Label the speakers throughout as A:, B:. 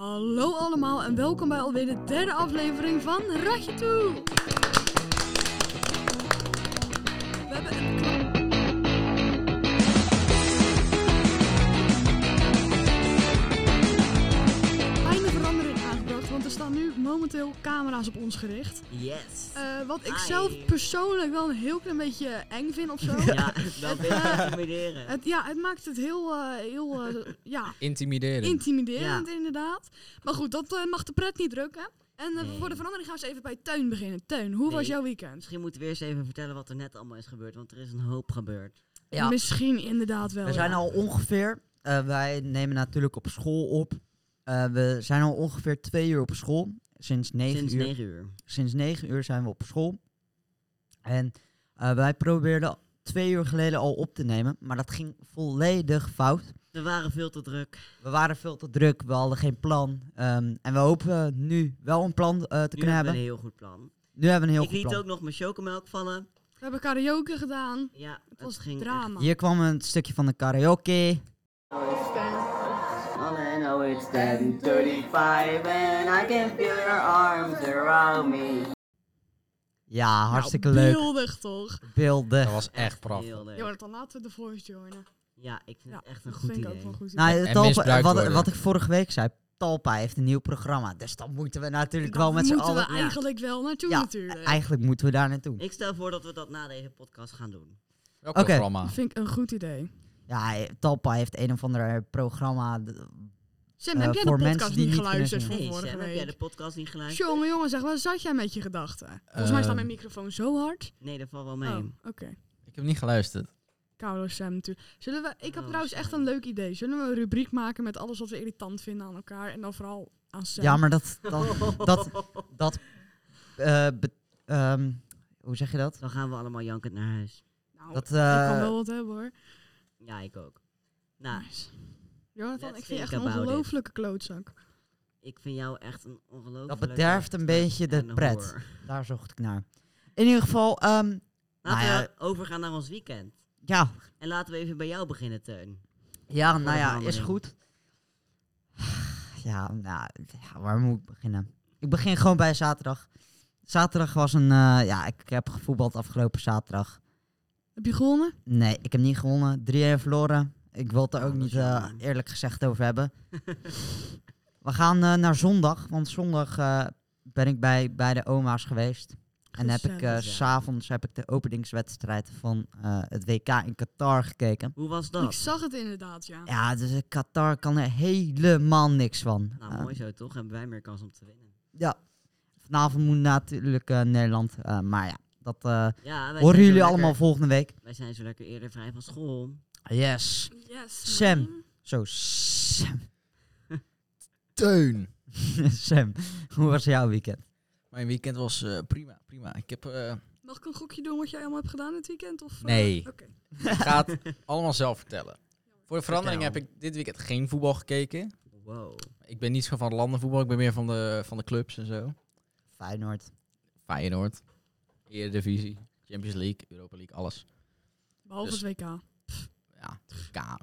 A: Hallo allemaal en welkom bij alweer de derde aflevering van Radje Toe. We hebben een knap- kleine verandering aangebracht, want er staan nu momenteel camera's op ons gericht.
B: Yes.
A: Eh, wat ik
B: Hi.
A: zelf persoonlijk wel een heel klein beetje eng vind of zo.
B: ja, dat wil ik intimideren.
A: Het, ja, het maakt het heel, eh, heel eh, ja,
C: Intimideren.
A: intimiderend inderdaad. Maar goed, dat eh, mag de pret niet drukken. En eh,
B: Nee.
A: voor de verandering gaan we eens even bij Teun beginnen. Teun, hoe was
B: Nee.
A: jouw weekend?
B: Misschien moeten we eerst even vertellen wat er net allemaal is gebeurd, want er is een hoop gebeurd.
D: Ja,
A: Misschien inderdaad wel.
D: we zijn
A: ja.
D: al ongeveer. eh, wij nemen natuurlijk op school op. Eh, we zijn al ongeveer twee uur op school. Sinds negen
B: Sinds
D: uur.
B: 9 uur.
D: Sinds negen uur zijn we op school. En eh, wij probeerden twee uur geleden al op te nemen. Maar dat ging volledig fout.
B: We waren veel te druk.
D: We waren veel te druk. We hadden geen plan. Ehm, en we hopen nu wel een plan eh, te
B: Nu hebben
D: kunnen hebben.
B: we een heel goed plan.
D: Nu hebben we een heel
B: ik liet
D: goed plan.
B: ook nog mijn chocomelk vallen.
A: We hebben karaoke gedaan.
B: Ja,
A: Het was
B: ging echt-
A: drama.
D: Hier kwam een stukje van de karaoke.
B: All I know it's 10:35 and I can feel your arms around me.
D: Ja, hartstikke
A: Nou,
D: leuk.
A: Beeldig toch?
D: Beelden.
C: Dat was echt prachtig.
B: heel leuk.
A: Jonathan, laten we de voice joinen.
B: Ja, ik vind
A: Ja,
B: het echt een
A: Dat
B: goed
A: vind ik
B: idee.
A: ook wel een goed.
D: Nou,
C: en
D: Talpa-
C: misbruikt
D: wat,
C: worden.
D: wat ik vorige week zei, Talpa heeft een nieuw programma. Dus dan moeten we natuurlijk
A: Daar
D: wel met z'n
A: moeten we
D: allen... ja,
A: eigenlijk wel naartoe
D: Ja,
A: natuurlijk.
D: eigenlijk moeten we daar naartoe.
B: Ik stel voor dat we dat na deze podcast gaan doen.
C: Welk
D: Oké.
C: programma?
A: Dat vind ik een goed idee.
D: Ja, hij- Talpa heeft een of ander programma. d-
A: Sam,
D: Eh,
A: heb jij de
D: voor
A: podcast
D: mensen die
A: niet
D: niet
A: geluisterd van
D: kunnen
B: Hey
A: vorige
B: Sam, heb jij de
A: week?
B: podcast niet geluisterd?
A: Jongen, jongen, zeg, waar zat jij met je gedachten? Volgens
D: Ehm.
A: mij staat mijn microfoon zo hard.
B: Nee, dat valt wel
A: Oh,
B: mee.
A: oké.
C: Ik heb niet geluisterd.
A: Carlos Sam natuurlijk. Zullen we, ik heb
B: Oh,
A: trouwens echt
B: Sam.
A: een leuk idee. Zullen we een rubriek maken met alles wat we irritant vinden aan elkaar? En dan vooral aan Sam.
D: Ja, maar dat... dat, dat, dat eh, be- ehm, hoe zeg je dat?
B: Dan gaan we allemaal jankend naar huis.
A: nou,
D: dat
A: ik kan
D: eh,
A: wel wat hebben hoor.
B: Ja, ik ook. Nou,
A: Nice. Jonathan,
B: Let's
A: ik vind je echt
B: think
A: een
B: about it.
A: ongelofelijke klootzak.
B: ik vind jou echt een ongelooflijk...
D: Dat bederft een beetje de pret. daar zocht ik naar. In ieder geval, ehm,
B: Laten
D: Nou ja.
B: we overgaan naar ons weekend.
D: ja,
B: En laten we even bij jou beginnen, Teun.
D: ja
B: Voor
D: nou
B: de
D: ja,
B: verandering.
D: is goed. Ja, nou, ja, waar moet ik beginnen? Ik begin gewoon bij zaterdag. Zaterdag was een, eh, ja, ik heb gevoetbald afgelopen zaterdag.
A: Heb je gewonnen?
D: Nee, ik heb niet gewonnen. 3-1 verloren. Ik wil het er
B: Ja,
D: ook
B: Oh, dat is
D: niet eh,
B: jammer.
D: eerlijk gezegd over hebben. We gaan eh, naar zondag, want zondag eh, ben ik bij, bij de oma's geweest. En heb ik eh,
A: Gezellig.
B: ja.
D: s'avonds heb ik de openingswedstrijd van eh, het WK in Qatar gekeken.
B: Hoe was
A: Ik
B: dat?
A: zag het inderdaad, ja.
D: Ja, dus eh, Qatar kan er helemaal niks van.
B: Nou,
D: Eh,
B: mooi zo toch? Hebben wij meer kans om te winnen.
D: Ja. Vanavond moet natuurlijk eh, Nederland. eh, maar ja, dat eh,
B: Ja, wij zijn
D: horen
B: zo
D: jullie
B: lekker-
D: allemaal volgende week.
B: Wij zijn zo lekker eerder vrij van school.
D: Yes.
A: Yes,
D: Sam.
A: man.
D: Zo, Sam.
C: Teun.
D: Sam, hoe was jouw weekend?
C: Mijn weekend was eh, prima, prima. Ik heb... eh,
A: Mag ik een gokje doen wat jij allemaal hebt gedaan dit weekend? Of, eh,
C: Nee.
A: Oké.
C: ik ga het allemaal zelf vertellen. Voor de verandering heb
B: Vertel.
C: ik dit weekend geen voetbal gekeken.
B: Wow.
C: Ik ben niet zo van landenvoetbal. Ik ben meer van de, van de clubs en zo.
D: Feyenoord.
C: Feyenoord. Eredivisie. Champions League. Europa League. Alles.
A: Behalve
C: Dus-
A: het WK.
C: Ja. K.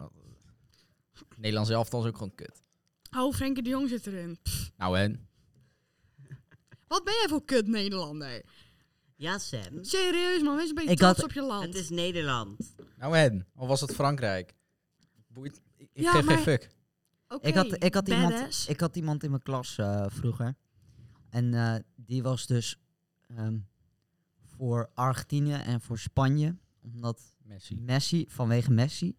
C: Nederlands elftal is ook gewoon kut.
A: Hou Frenkie de Jong zit erin. Pff,
C: Nou en?
A: Wat ben jij voor kut Nederlander?
B: Ja, Sam.
A: Serieus man, wees een beetje
D: Ik
A: trots
D: had-
A: op je land.
B: Het is Nederland.
C: Nou en? Of was het Frankrijk? Boeit. Ik, ik
A: Ja,
C: geef
A: maar-
C: geen fuck.
A: Oké,
D: Ik, had, ik, had
A: badass.
D: iemand, ik had iemand in mijn klas eh, vroeger. En eh, die was dus ehm, voor Argentinië en voor Spanje. Omdat
C: Messi.
D: Messi, vanwege Messi.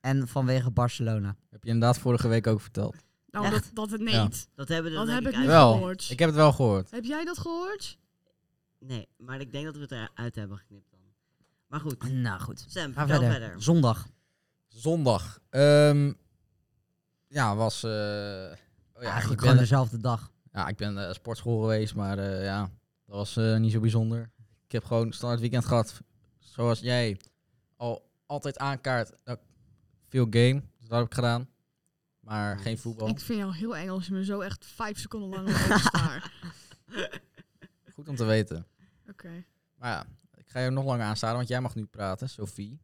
D: En vanwege Barcelona.
C: Heb je inderdaad vorige week ook verteld.
A: Nou, dat, dat het
C: Ja.
A: niet.
B: Dat hebben we er
A: Dat
B: denk
A: heb ik
B: uit-
A: niet
C: Wel.
A: gehoord.
C: Ik heb het wel gehoord.
A: Heb jij dat gehoord?
B: Nee, maar ik denk dat we het eruit hebben geknipt dan. Maar goed,
D: Nou goed.
B: Sam,
D: Ga
B: vertel
D: verder.
B: verder.
D: Zondag.
C: Zondag. Ehm, ja, was... eh, oh ja, ik
D: Eigenlijk
C: ben,
D: gewoon dezelfde dag.
C: ja, ik ben eh, sportschool geweest, maar eh, ja, dat was eh, niet zo bijzonder. Ik heb gewoon standaard weekend gehad. Zoals jij al altijd aankaart. eh, veel game, dus dat heb ik gedaan. Maar geen voetbal.
A: Ik vind jou heel eng als je me zo echt vijf seconden lang op staar.
C: Goed om te weten.
A: Oké.
C: Maar ja, ik ga je nog langer aanstaan, want jij mag nu praten, Sophie.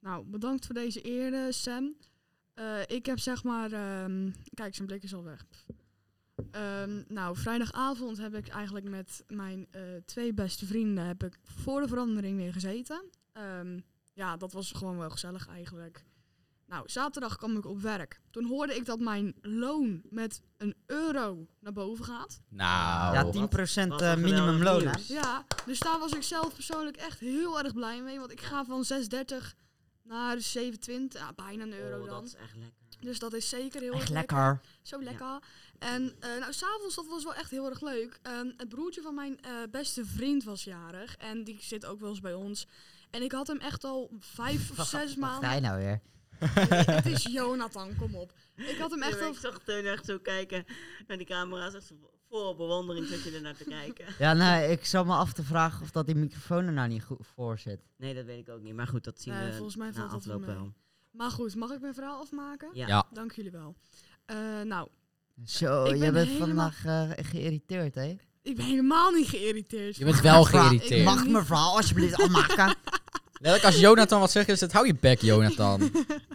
A: Nou, bedankt voor deze eer, eh, Sam. Eh, ik heb zeg maar... ehm, kijk, zijn blik is al weg. Ehm, nou, vrijdagavond heb ik eigenlijk met mijn eh, twee beste vrienden heb ik voor de verandering weer gezeten. Ehm, ja, dat was gewoon wel gezellig eigenlijk. Nou, zaterdag kwam ik op werk. Toen hoorde ik dat mijn loon met een euro naar boven gaat.
C: Nou.
D: ja, eh, 10%
C: wat-
B: wat
D: minimumloon.
B: een geweldig
D: minimumloon. hè?
B: nieuws.
A: Ja, dus daar was ik zelf persoonlijk echt heel erg blij mee. Want ik ga van 6,30 naar 7,20. Ja, bijna een euro
B: Oh, dat
A: dan.
B: is echt lekker.
A: Dus dat is zeker heel
D: Echt
A: erg
D: lekker.
A: Zo lekker. En eh nou, s'avonds, dat was wel echt heel erg leuk. En het broertje van mijn eh, beste vriend was jarig. En die zit ook wel eens bij ons. En ik had hem echt al vijf of
D: Wacht,
A: zes
D: wat
A: maanden...
D: wij nou weer?
A: het is Jonathan, kom op. Ik had hem echt
B: Ja,
A: al...
B: ik zag Teun echt zo kijken naar die camera's. Echt zo vol bewondering zat je er naar te kijken.
D: Ja, nee, ik zal me af te vragen of dat die microfoon er nou niet goed voor zit.
B: Nee, dat weet ik ook niet. Maar goed, dat zien
A: Nee,
B: we
A: volgens mij
B: eh, na
A: valt dat wel
B: afloop
A: mee.
B: wel.
A: Maar goed, mag ik mijn verhaal afmaken?
B: Ja.
C: Ja.
A: Dank jullie wel. Eh, nou,
D: Zo,
A: Ik
D: jij
A: ben
D: bent
A: helemaal-
D: vandaag eh, geïrriteerd, hè?
A: ik ben helemaal niet geïrriteerd.
C: Je bent wel
D: Vra-
A: Ik
C: geïrriteerd.
D: Mag ik mijn verhaal alsjeblieft afmaken?
C: Letterlijk, als Jonathan wat zegt, is het hou je bek, Jonathan.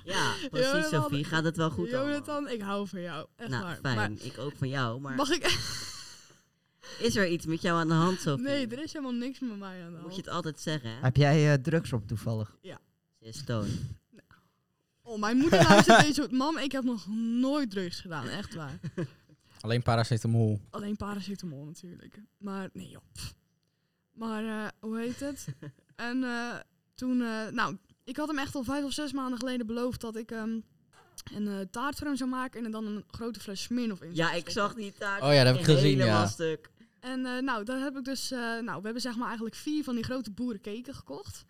B: Ja, precies,
A: Jonathan,
B: Sophie. Gaat het wel goed allemaal?
A: Jonathan, ik hou van jou. Echt
B: Nou,
A: waar.
B: fijn.
A: Maar
B: Ik ook van jou. Maar
A: mag ik...
B: is er iets met jou aan de hand, Sophie?
A: Nee, er is helemaal niks met mij aan de hand.
B: Moet je het altijd zeggen, hè?
D: Heb jij eh, drugs op toevallig?
B: Ze is Teun.
A: Oh, mijn moeder luistert deze... Mam, ik heb nog nooit drugs gedaan. Echt waar.
C: Alleen paracetamol.
A: Alleen paracetamol natuurlijk. Maar nee joh. pff. Maar eh, hoe heet het? en eh, toen, eh, nou, ik had hem echt al vijf of zes maanden geleden beloofd dat ik ehm, een eh, taart voor hem zou maken en er dan een grote fles Smirnoff in.
B: Ja,
A: zou
B: ik
A: stoppen.
B: zag die taart.
C: Oh ja, dat heb ik gezien,
B: Helemaal
C: ja.
B: stuk.
A: En eh, nou, daar heb ik dus, eh, nou, we hebben zeg maar eigenlijk vier van die grote boerenkeken gekocht.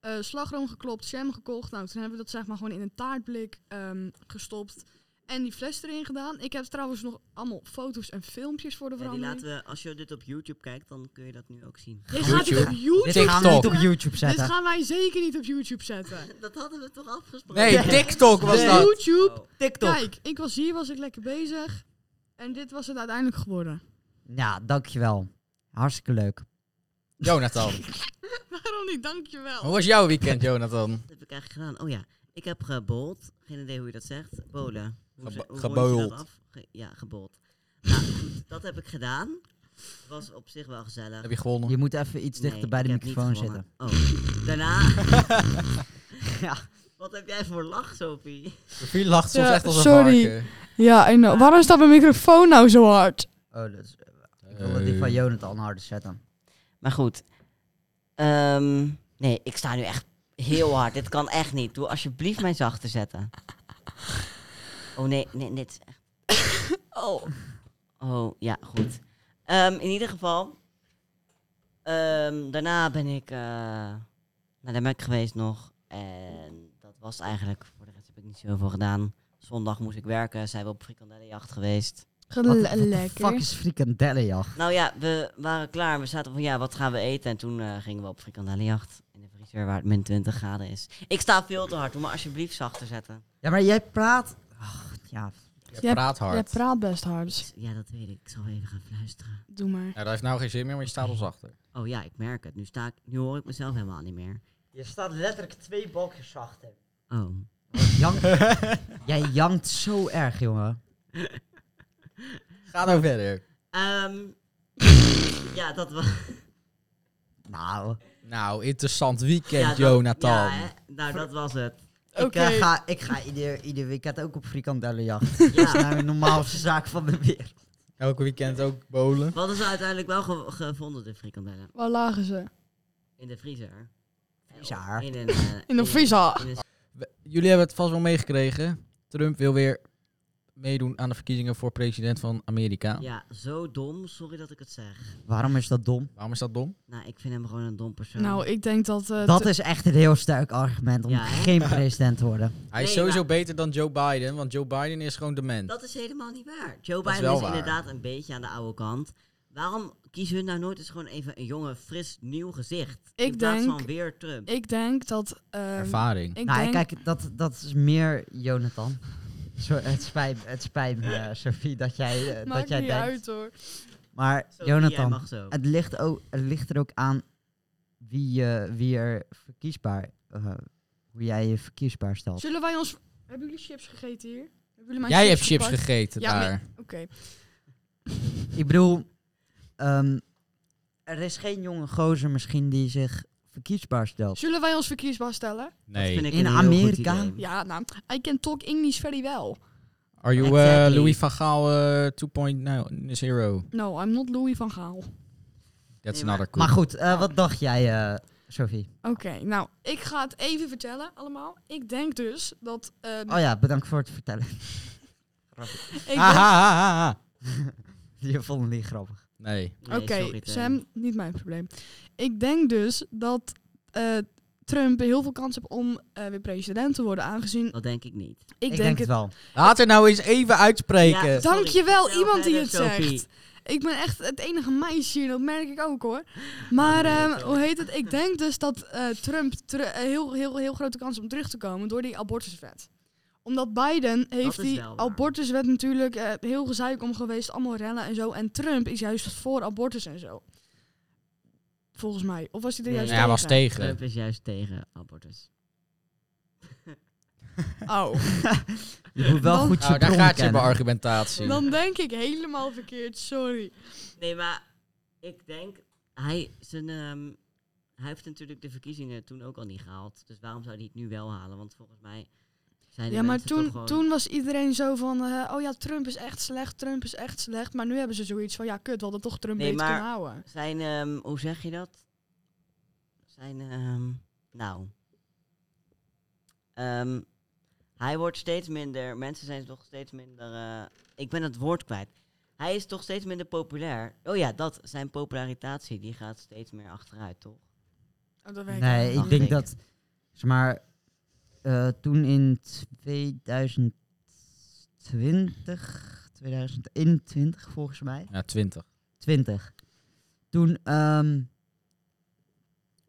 A: Eh, slagroom geklopt, jam gekocht. Nou, toen hebben we dat zeg maar gewoon in een taartblik ehm, gestopt. En die fles erin gedaan. Ik heb trouwens nog allemaal foto's en filmpjes voor de
B: Ja, die
A: verandering.
B: laten we, als je dit op YouTube kijkt, dan kun je dat nu ook zien.
A: Dit gaat
C: YouTube.
A: op YouTube
D: Dit gaan we niet
C: TikTok.
D: op YouTube
A: Dit
D: zetten.
A: gaan wij zeker niet op YouTube zetten.
B: Dat hadden we toch afgesproken?
C: Nee, TikTok was
A: Nee.
C: dat.
A: YouTube.
B: Oh.
D: TikTok.
A: Kijk, ik was hier, was ik lekker bezig. En dit was het uiteindelijk geworden.
D: Ja, dankjewel. Hartstikke leuk.
C: Jonathan.
A: Waarom niet? Dankjewel.
C: Hoe was jouw weekend, Jonathan?
B: Wat heb ik eigenlijk gedaan? Oh ja, ik heb gebold. Geen idee hoe je dat zegt. Bolen. Hoe
C: Gebo-
B: ze- hoe
C: gebold.
B: rond je dat af? Ge- ja, gebold. Nou, goed, dat heb ik gedaan. Was op zich wel gezellig.
C: Heb je gewonnen?
D: Je moet even iets dichter bij de microfoon zitten.
B: Oh, daarna...
D: Ja.
B: Wat heb jij voor lach, Sophie?
C: Sophie lacht soms
A: Ja,
C: echt als een
A: sorry.
C: varken.
A: Ja, en eh, waarom staat mijn microfoon nou zo hard?
D: Oh, dat is, ik
C: Eh,
D: wil dat die van Jonathan harder zetten.
B: Maar goed. Ehm, nee, ik sta nu echt heel hard. Dit kan echt niet. Doe alsjeblieft mij zachter zetten. Oh nee, nee, dit is echt... Oh. Oh, ja, goed. Ehm, in ieder geval. ehm, daarna ben ik eh, naar de Mac geweest nog. En dat was het eigenlijk. Voor de rest heb ik niet zoveel gedaan. Zondag moest ik werken. Zijn we op frikandellenjacht geweest.
D: Wat, wat de fuck is frikandellenjacht?
B: Nou ja, we waren klaar. en We zaten van ja, wat gaan we eten? En toen eh, gingen we op frikandellenjacht in de vriezer waar het min 20 graden is. Ik sta veel te hard. Doe me alsjeblieft zachter zetten.
D: Ja, maar jij praat... Ach, ja.
C: Je praat hard.
A: praat best hard. dus
B: Ja, dat weet ik. Ik zal even gaan fluisteren.
A: Doe maar.
C: Ja, dat heeft nou geen zin meer, want je staat ons achter.
B: Oh ja, ik merk het. Nu, sta ik, nu hoor ik mezelf helemaal niet meer.
D: Je staat letterlijk twee balkjes achter.
B: Oh.
D: jij jankt zo erg, jongen.
C: Ga nou verder.
B: Ehm, ja, dat was.
D: Nou,
C: Nou, interessant weekend,
B: ja, dat-
C: Jonathan.
B: Ja, hè. nou, dat was het.
D: ik,
A: Oké.
D: eh, ga, ik ga ieder, ieder weekend ook op frikandellenjacht. Dat is
B: Ja.
D: nou de normaalste zaak van de wereld.
C: Elke weekend ook bowlen.
B: Wat is uiteindelijk wel ge- gevonden, de frikandellen?
A: Waar lagen ze?
B: In de vriezer.
D: Vriezer?
B: In een. eh,
A: In de
B: in
A: vriezer.
B: een
C: We- jullie hebben het vast wel meegekregen. Trump wil weer meedoen aan de verkiezingen voor president van Amerika.
B: Ja, zo dom. Sorry dat ik het zeg.
D: Waarom is dat dom?
C: Waarom is dat dom?
B: Nou, ik vind hem gewoon een dom persoon.
A: Nou, ik denk dat... eh,
D: Dat
A: te-
D: is echt een heel sterk argument om
B: Ja, hè?
D: geen president te worden.
C: Hij is
B: Nee,
C: sowieso
B: maar-
C: beter dan Joe Biden, want Joe Biden is gewoon dement.
B: dat is helemaal niet waar. Joe
C: Dat is
B: Biden
C: wel
B: is,
C: waar.
B: inderdaad een beetje aan de oude kant. Waarom kiezen hun nou nooit eens gewoon even een jonge, fris, nieuw gezicht?
A: Ik
B: in plaats
A: denk-
B: van weer Trump.
A: ik denk dat... ehm,
C: Ervaring.
A: ik
D: nou,
A: denk...
D: kijk, dat, dat is meer Jonathan. Zo, het, spijt, het spijt me, eh, Sophie, dat jij, eh, dat
A: Maakt
D: jij
A: niet
D: denkt.
A: uit hoor.
D: Maar
B: Sophie, jij
D: Jonathan,
B: mag zo.
D: het ligt, ook, het ligt er ook aan wie, eh, wie er verkiesbaar... eh, hoe jij je verkiesbaar stelt.
A: Zullen wij ons... Hebben jullie chips gegeten hier? Hebben jullie mijn
C: Jij hebt chips
A: gepakt?
C: gegeten
A: Ja,
C: daar.
A: Oké.
D: Ik bedoel, ehm, er is geen jonge gozer misschien die zich verkiesbaar stelt.
A: Zullen wij ons verkiesbaar stellen?
B: Dat vind ik
E: Nee.
D: In
B: een heel goed
D: Amerika?
B: idee.
A: Ja, nou, I can talk English very well.
C: Are you eh,
D: Exactly.
C: Louis van Gaal eh, 2.0?
A: No, I'm not Louis van Gaal.
C: That's
B: Nee, maar-
C: another cool.
D: Maar goed, eh, wat dacht jij, eh, Sophie?
A: Oké, nou, ik ga het even vertellen allemaal. Ik denk dus dat... ehm,
D: Oh ja, bedankt voor het vertellen.
A: ik
C: Ah,
A: denk-
C: ah, ah, ah, ah.
D: Je vond het niet grappig.
C: Nee.
B: Nee,
A: Oké,
B: sorry, Teun.
A: Sam, niet mijn probleem. Ik denk dus dat eh, Trump heel veel kans heeft om eh, weer president te worden, aangezien ik,
B: Dat denk ik niet.
A: denk,
D: het
A: het.
D: wel.
C: Laat er nou eens even uitspreken.
B: Ja, sorry,
A: Dankjewel,
B: vertel
A: iemand die
B: verder,
A: het
B: Sophie.
A: Ik ben echt het enige meisje hier, dat merk ik ook hoor. Maar ehm, hoe heet het? Ik denk dus dat eh, Trump teru- eh, heel, heel, heel grote kans om terug te komen door die abortuswet. Omdat Biden heeft
B: is
A: die
B: wel waar.
A: abortuswet natuurlijk eh, heel gezeik om geweest, allemaal rellen en zo. En Trump is juist voor abortus en zo. Volgens mij. Of was hij er
B: Nee.
A: juist
C: Ja, hij was
A: tegen?
C: tegen. Nou,
B: Trump is juist tegen abortus.
A: Oh.
D: Je moet wel
A: Dan-
D: goed je
C: Nou, daar
D: bron
C: gaat je
D: kennen.
C: argumentatie.
A: Dan denk ik helemaal verkeerd, sorry.
B: Nee, maar ik denk, hij, zijn, ehm, hij heeft natuurlijk de verkiezingen toen ook al niet gehaald. Dus waarom zou hij het nu wel halen? Want volgens mij zijn de
A: Ja, maar
B: mensen toch
A: toen,
B: gewoon...
A: toen was iedereen zo van, eh, oh ja, Trump is echt slecht, Trump is echt slecht. Maar nu hebben ze zoiets van, ja, kut, we hadden toch Trump
B: Nee,
A: beter
B: maar-
A: kunnen houden.
B: Zijn, ehm, hoe zeg je dat? Zijn, ehm, nou... Ehm, hij wordt steeds minder, mensen zijn toch steeds minder... eh, ik ben het woord kwijt. Hij is toch steeds minder populair. Oh ja, dat, zijn popularisatie, die gaat steeds meer achteruit, toch?
A: Oh, dat weet ik
D: Nee,
A: niet.
D: ik
B: Dacht
D: denk
B: ik.
D: dat... Zeg maar, eh, toen in 2020, 2021 volgens mij,
C: Ja, 20.
D: 20. Toen ehm,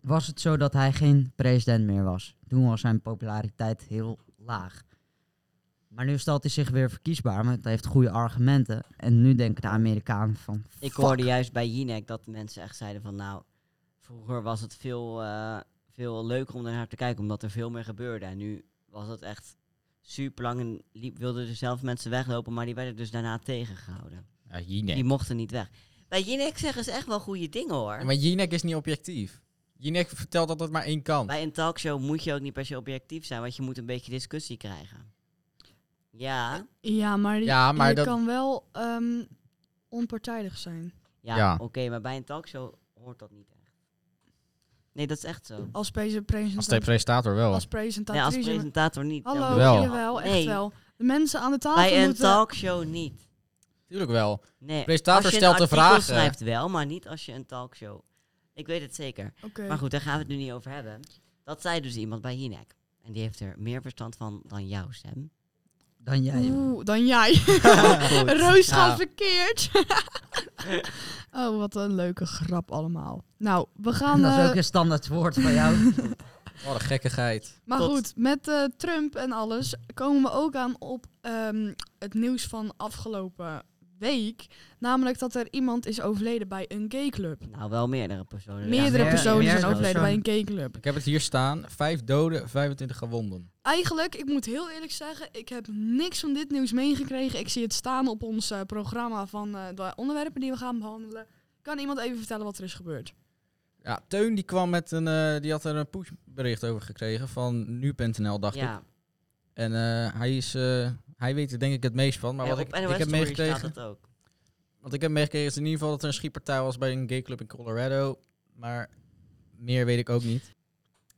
D: was het zo dat hij geen president meer was. Toen was zijn populariteit heel laag. Maar nu stelt hij zich weer verkiesbaar, want hij heeft goede argumenten. En nu denken de Amerikanen van...
B: Ik
D: fuck.
B: hoorde juist bij Jinek dat de mensen echt zeiden van nou, vroeger was het veel, eh, veel leuker om naar te kijken, omdat er veel meer gebeurde. En nu was het echt super lang en liep, wilden er zelf mensen weglopen, maar die werden dus daarna tegengehouden.
C: Ja,
B: Die
C: Jinek.
B: mochten niet weg. Bij Jinek zeggen ze echt wel goede dingen hoor.
C: Maar Jinek is niet objectief. Jinek vertelt dat het maar één kant.
B: Bij een talkshow moet je ook niet per se objectief zijn, want je moet een beetje discussie krijgen. Ja,
A: Ja, maar,
C: Ja,
A: ja,
C: maar
A: je
C: dat-
A: kan wel ehm, onpartijdig zijn
B: ja,
C: Ja.
B: oké, maar bij een talkshow hoort dat niet echt. Nee, dat is echt zo.
A: als pre- presentator.
C: Als de presentator wel.
A: als
B: Nee, als
A: presentatrice.
B: presentator niet. Ja,
A: Hallo,
B: maar-
C: Wel.
A: jawel, echt
B: Nee.
A: wel. De mensen aan de tafel
B: Bij een
A: moeten...
B: talkshow niet.
C: Tuurlijk wel.
B: Nee,
C: Presentator
B: als je een
C: stelt de
B: artikel
C: vragen.
B: schrijft wel, maar niet als je een talkshow... Ik weet het zeker.
A: Oké.
B: Maar goed, daar gaan we het nu niet over hebben. Dat zei dus iemand bij Jinek. En die heeft er meer verstand van dan jou, Sam.
D: Dan jij.
A: Oeh, dan jij. Roos
D: Nou.
A: gaat verkeerd. oh, wat een leuke grap allemaal. Nou, we gaan...
D: dat
A: eh,
D: is ook een standaard woord van jou.
C: Wat een gekkigheid.
A: Maar
B: Tot-
A: goed, met eh, Trump en alles komen we ook aan op ehm, het nieuws van afgelopen week. Namelijk dat er iemand is overleden bij een gayclub.
B: Nou, wel meerdere personen.
A: Meerdere
D: meer-
A: personen
D: meerdere
A: zijn overleden bij
D: personen.
A: een gayclub.
C: Ik heb het hier staan. Vijf doden, 25 gewonden.
A: Eigenlijk, ik moet heel eerlijk zeggen, ik heb niks van dit nieuws meegekregen. Ik zie het staan op ons eh, programma van eh, de onderwerpen die we gaan behandelen. Kan iemand even vertellen wat er is gebeurd?
C: Ja, Teun die kwam met een... eh, die had er een pushbericht over gekregen van nu.nl, dacht ik.
B: Ja,
C: En eh, hij is... eh, hij weet er denk ik het meest van. Maar
B: Ja,
C: wat ik,
B: op NOS
C: ik heb
B: Story staat
C: meegekregen...
B: het ook.
C: Wat ik heb meegekregen is in ieder geval dat er een schietpartij was bij een gayclub in Colorado. Maar meer weet ik ook niet.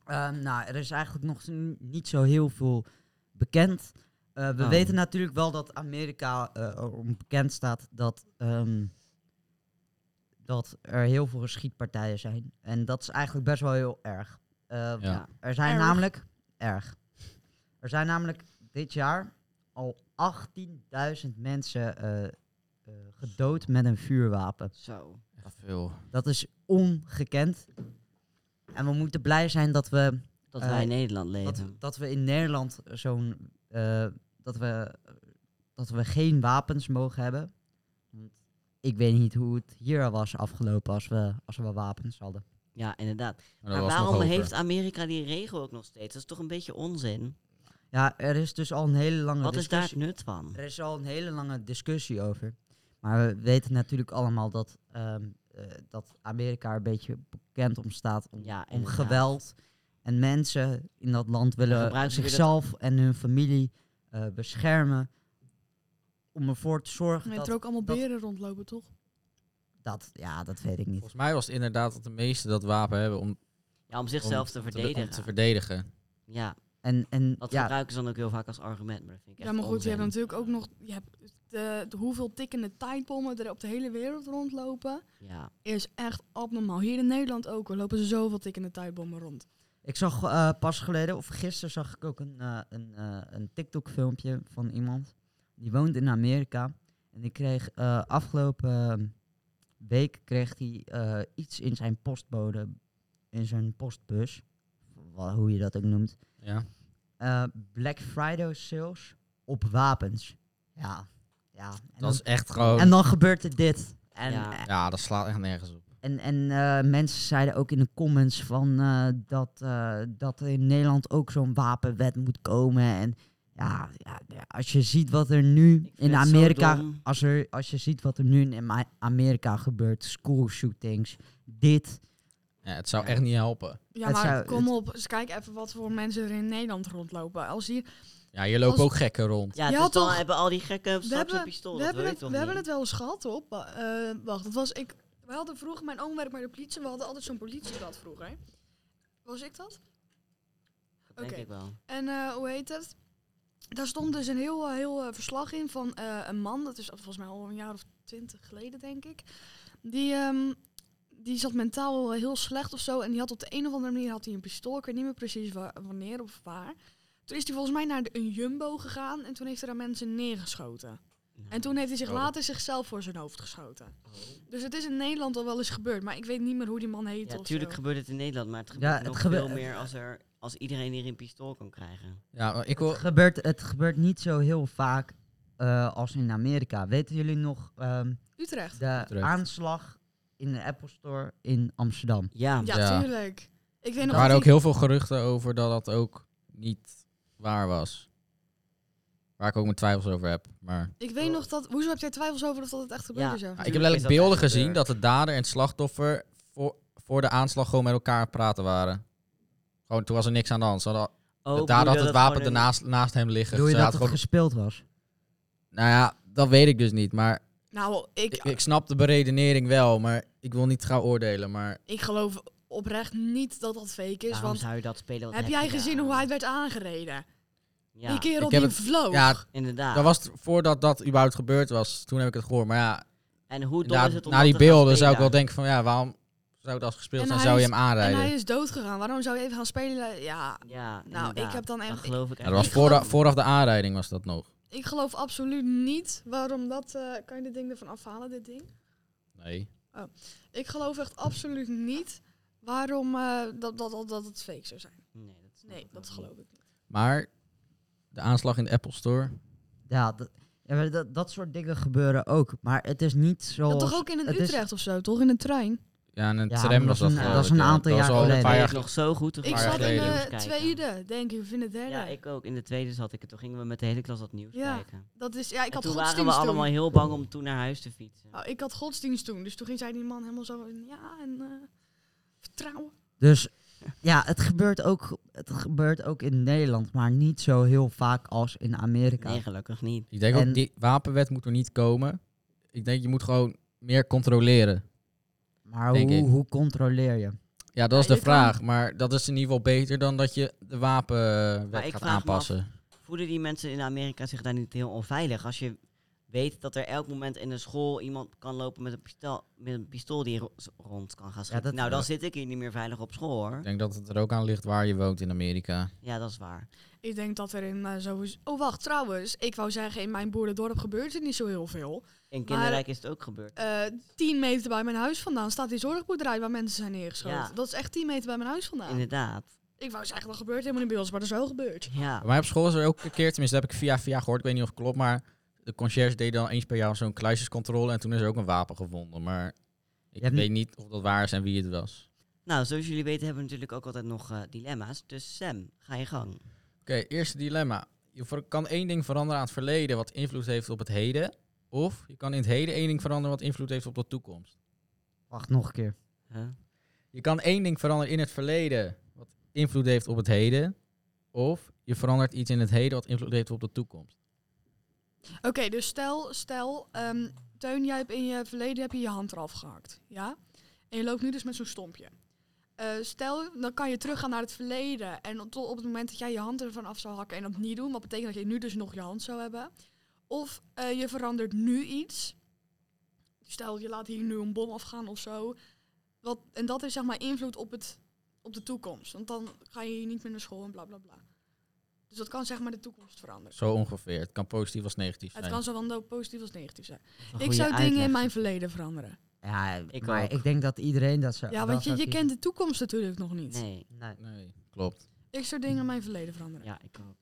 D: Ehm, nou, er is eigenlijk nog n- niet zo heel veel bekend. Eh, we
B: Oh.
D: weten natuurlijk wel dat Amerika eh, erom bekend staat dat, ehm, dat er heel veel schietpartijen zijn. En dat is eigenlijk best wel heel erg. Eh,
C: Ja.
D: Er zijn
A: Erg.
D: namelijk... Erg. Er zijn namelijk dit jaar al 18.000 mensen eh, eh, gedood met een vuurwapen.
B: Zo.
C: Echt veel.
D: Dat is ongekend. En we moeten blij zijn dat we
B: Dat
D: Eh,
B: wij in Nederland
D: dat,
B: leven.
D: dat we in Nederland zo'n. eh, dat, we, dat we geen wapens mogen hebben. Want ik weet niet hoe het hier al was afgelopen als we, als we wapens hadden.
B: Ja, inderdaad.
C: Maar, Nou, dat
B: Maar
C: was nog
B: waarom
C: hoger.
B: heeft Amerika die regel ook nog steeds? Dat is toch een beetje
C: Nou,
B: onzin?
D: Ja, er is dus al een hele lange
B: Wat is daar
D: discussie.
B: het nut van?
D: Er is al een hele lange discussie over. Maar we weten natuurlijk allemaal dat, ehm, eh, dat Amerika er een beetje bekend om staat om,
B: Ja,
D: om
B: inderdaad.
D: geweld. En mensen in dat land
B: Dan
D: willen
B: gebruiken ze weer dat-
D: zichzelf en hun familie eh, beschermen. Om ervoor te zorgen
A: Weet
D: dat,
A: er ook allemaal
D: dat-
A: beren rondlopen, toch?
D: dat... Ja, dat weet ik niet.
C: Volgens mij was het inderdaad dat de meesten dat wapen hebben om
B: Ja, om zichzelf te verdedigen.
C: Om te verdedigen.
B: ja,
D: En, en
B: dat
D: ja,
B: gebruiken ze dan ook heel vaak als argument. Maar dat vind ik
A: Ja,
B: echt
A: maar goed, je
D: Oh,
A: hebt
B: onzin.
A: natuurlijk ook nog je hebt de, de hoeveel tikkende tijdbommen er op de hele wereld rondlopen.
B: Ja.
A: Is echt abnormaal. Hier in Nederland ook, er lopen zoveel tikkende tijdbommen rond.
D: Ik zag eh, pas geleden, of gisteren zag ik ook een, eh, een, eh, een TikTok-filmpje van iemand. Die woont in Amerika. En die kreeg eh, afgelopen week kreeg hij eh, iets in zijn postbode, in zijn postbus. wa- hoe je dat ook noemt.
C: Ja.
D: Eh, Black Friday sales op wapens. Ja, ja. En, dan,
C: Dat is echt gewoon...
D: en dan gebeurt er dit. En,
B: Ja.
C: Ja, dat slaat echt nergens op.
D: en, en eh, mensen zeiden ook in de comments van eh, dat, eh, dat er in Nederland ook zo'n wapenwet moet komen. En ja, ja, ja, als je ziet wat er nu
B: vind
D: in
B: het zo
D: Amerika.
B: dom.
D: Als, er, als je ziet wat er nu in Ma- Amerika gebeurt, school shootings, dit.
C: Ja, het zou
D: Ja.
C: echt niet helpen.
A: Ja,
D: Het
A: maar
D: zou-
A: kom
D: het-
A: op, eens kijk even wat voor mensen er in Nederland rondlopen. Als hier,
C: Ja, hier lopen
A: Als-
C: ook gekken rond.
B: Ja,
A: Ja,
B: dus dan
A: toch?
B: hebben al die gekken straks een
A: hebben-
B: pistool.
A: we
B: dat
A: hebben,
B: wil je
A: het,
B: toch
A: we hebben
B: niet?
A: het wel eens gehad op. eh, wacht, dat was ik. We hadden vroeger, mijn oom werkte bij de politie, we hadden altijd zo'n politieblad vroeger. Was ik dat?
B: Dat denk
A: Oké.
B: ik wel.
A: En eh, hoe heet het? Daar stond dus een heel, eh, heel eh, verslag in van eh, een man. Dat is volgens mij al een jaar of twintig geleden, denk ik. Die, ehm, die zat mentaal eh, heel slecht of zo. En die had op de een of andere manier had hij een pistool. Ik weet niet meer precies wa- wanneer of waar. Toen is hij volgens mij naar de, een jumbo gegaan. En toen heeft hij daar mensen neergeschoten. En toen heeft hij zich
C: Oh.
A: later zichzelf voor zijn hoofd geschoten. Dus het is in Nederland al wel eens gebeurd. Maar ik weet niet meer hoe die man heet
B: Ja,
A: of
B: tuurlijk
A: zo.
B: gebeurt het in Nederland, maar het gebeurt
D: het
B: nog
D: gebe-
B: veel meer als, er, als iedereen hier een pistool kan krijgen.
C: Ja, maar ik wil...
D: Het gebeurt, het gebeurt niet zo heel vaak eh, als in Amerika. Weten jullie nog ehm,
A: Utrecht.
D: de
C: Utrecht.
D: aanslag in de Apple Store in Amsterdam?
B: Ja, Oh,
A: Ja,
C: Ja.
A: tuurlijk. Ik weet
C: Er
A: nog
C: waren
A: dat
C: ook
A: die-
C: heel veel geruchten over dat dat ook niet waar was. Waar ik ook mijn twijfels over heb. Maar
A: Ik weet nog dat. Hoezo heb jij twijfels over of dat het echt gebeurd
B: Oh. Ja.
A: is?
C: Ja,
A: ergens?
C: Ah, ik heb
B: Tuurlijk is
C: letterlijk
B: dat
C: beelden
B: echt eh,
C: gezien
B: gebeurd.
C: dat de dader en het slachtoffer voor, voor de aanslag gewoon met elkaar aan het praten waren. Gewoon, toen was er niks aan de hand. Ze hadden al-
B: Oh,
C: de
B: bedoel
C: dader
B: je
C: had het
B: dat
C: wapen
B: gewoon een-
C: ernaast, naast hem liggen.
D: Doe je
C: Ze
D: dat
C: had
D: het
C: gewoon-
D: gespeeld was?
C: nou ja, dat weet ik dus niet. Maar
A: Nou, ik,
C: ik,
A: ik,
C: ik snap de beredenering wel. Maar ik wil niet gaan oordelen. Maar
A: geloof oprecht niet dat dat fake is.
B: Waarom
A: want
B: zou je dat spelen? Wat
A: heb jij
B: je
A: gezien
B: daar
A: hoe hij
B: aan?
A: werd aangereden?
B: Ja,
A: Die kerel
C: Ik heb
A: die
C: het-
A: vloog.
C: ja,
B: inderdaad.
C: dat was t- voordat dat überhaupt gebeurd was. Toen heb ik het gehoord. Maar ja,
B: en hoe dom is
C: inderdaad,
B: het om
C: na
B: dat
C: die
B: te gaan
C: beelden zou ik wel
B: spelen?
C: denken van ja, waarom zou dat gespeeld
A: En
C: zijn?
A: hij
C: Zou je
A: is-
C: hem
A: en
C: aanrijden?
A: hij is dood gegaan. Waarom zou je even gaan spelen? Ja,
B: Ja,
A: nou, ik
B: inderdaad.
A: heb dan
B: Dat
A: echt. Ik,
B: geloof ik
C: Ja, dat was
A: ik
C: vooraf,
A: geloof-
C: vooraf de aanrijding was dat nog.
A: ik geloof absoluut niet waarom dat. eh, kan je dit ding ervan afhalen, dit ding?
C: Nee.
A: Ik geloof echt absoluut niet waarom eh, dat, dat, dat, dat het fake zou zijn.
B: Nee, dat, snap
A: Nee,
B: ik ook
A: dat
B: niet.
A: geloof ik niet.
C: Maar de aanslag in de Apple Store.
D: Ja, dat, ja, maar dat, dat soort dingen gebeuren ook. Maar het is niet zo.
A: Dat toch ook in een
D: het is-
A: Utrecht of zo, toch? In een trein?
C: Ja, en een
D: Ja, maar
C: tram
D: dat
C: was
D: is
C: dat.
D: een-
C: geloof
D: dat is
C: ik,
D: een
C: ja.
D: aantal
C: Oh, dat
D: jaar
B: Oh,
C: was al een
D: geleden.
C: paar jaar nou.
B: Ik nog zo goed.
A: Ik
C: jaar
A: zat in
C: geleden.
A: de
B: Kijken.
A: tweede, denk ik, of in de derde.
B: Ja, ik ook. In de tweede zat ik. er. Toen gingen we met de hele klas dat nieuws
A: Ja,
B: kijken.
A: Dat is, ja, ik
B: en
A: had
B: toen waren we
A: godsdienst
B: allemaal
A: toen.
B: heel bang om toen naar huis te fietsen.
C: Oh,
A: Nou, ik had godsdienst toen, dus toen ging zij die man helemaal zo in, ja, en eh, vertrouwen.
D: Dus ja, het gebeurt, ook, het gebeurt ook in Nederland, maar niet zo heel vaak als in Amerika.
B: Nee, gelukkig niet.
C: Ik denk
D: En-
C: ook, die wapenwet moet er niet komen. Ik denk, je moet gewoon meer controleren.
D: Maar
C: Denk
D: hoe,
C: ik.
D: hoe controleer je?
C: Ja, dat is
A: Ja,
C: de
A: je kan-
C: vraag. Maar dat is in ieder geval beter dan dat je de
B: Maar
C: wapenwet
B: ik
C: gaat
B: vraag me
C: aanpassen.
B: Voelen die mensen in Amerika zich daar niet heel onveilig? Als je weet dat er elk moment in de school iemand kan lopen met een pistool, met een pistool die ro- rond kan gaan schieten.
D: dat-
B: nou, dan
C: Ja.
B: zit ik hier niet meer veilig op school hoor.
C: Ik denk dat het er ook aan ligt waar je woont in Amerika.
B: Ja, dat is waar.
A: Ik denk dat er in eh, sowieso... Oh, wacht, trouwens. Ik wou zeggen, in mijn boerendorp gebeurt er niet zo heel veel.
B: In Kinderrijk is het ook gebeurd.
A: Eh, tien meter bij mijn huis vandaan staat die zorgboerderij waar mensen zijn neergeschoten.
B: Ja.
A: Dat is echt tien meter bij mijn huis vandaan.
B: Inderdaad.
A: Ik wou zeggen, dat gebeurt helemaal niet bij ons, maar dat is wel gebeurd.
B: Ja.
C: Bij mij op school is er ook een keer, tenminste dat heb ik via via gehoord, ik weet niet of het klopt, maar de conciërge deed dan eens per jaar zo'n kluisjescontrole en toen is er ook een wapen gevonden. Maar ik
D: Je hebt
C: weet niet of dat waar is en wie het was.
B: Nou, zoals jullie weten hebben we natuurlijk ook altijd nog eh, dilemma's. Dus Sam, ga je gang.
C: Oké, eerste dilemma. Je ver- kan één ding veranderen aan het verleden wat invloed heeft op het heden. Of je kan in het heden één ding veranderen wat invloed heeft op de toekomst.
D: Wacht, nog een keer.
B: Huh?
C: Je kan één ding veranderen in het verleden wat invloed heeft op het heden. Of je verandert iets in het heden wat invloed heeft op de toekomst.
A: Oké, dus stel, stel ehm, Teun, jij hebt in je verleden heb je, je hand eraf gehakt. Ja? En je loopt nu dus met zo'n stompje. Eh, stel, dan kan je teruggaan naar het verleden. En tot op het moment dat jij je hand ervan af zou hakken en dat niet doen. Wat betekent dat je nu dus nog je hand zou hebben. Of eh, je verandert nu iets. Stel, je laat hier nu een bom afgaan of zo. Wat, en dat is zeg maar invloed op, het, op de toekomst. Want dan ga je hier niet meer naar school en bla bla bla. Dus dat kan zeg maar de toekomst veranderen.
C: Zo ongeveer. Het kan positief als negatief zijn.
A: Het kan zowel positief als negatief zijn.
B: Dat is een
A: ik
B: goede
A: zou dingen
B: uitleg.
A: in mijn verleden veranderen.
D: Ja,
B: Ik
D: maar
B: ook.
D: ik denk dat iedereen dat zou...
A: Ja,
D: dat
A: want je,
D: zou
A: je
D: kiezen.
A: kent de toekomst natuurlijk nog niet.
B: Nee,
D: Nee.
C: Nee, klopt.
A: Ik zou dingen in mijn verleden veranderen.
B: ja, ik ook.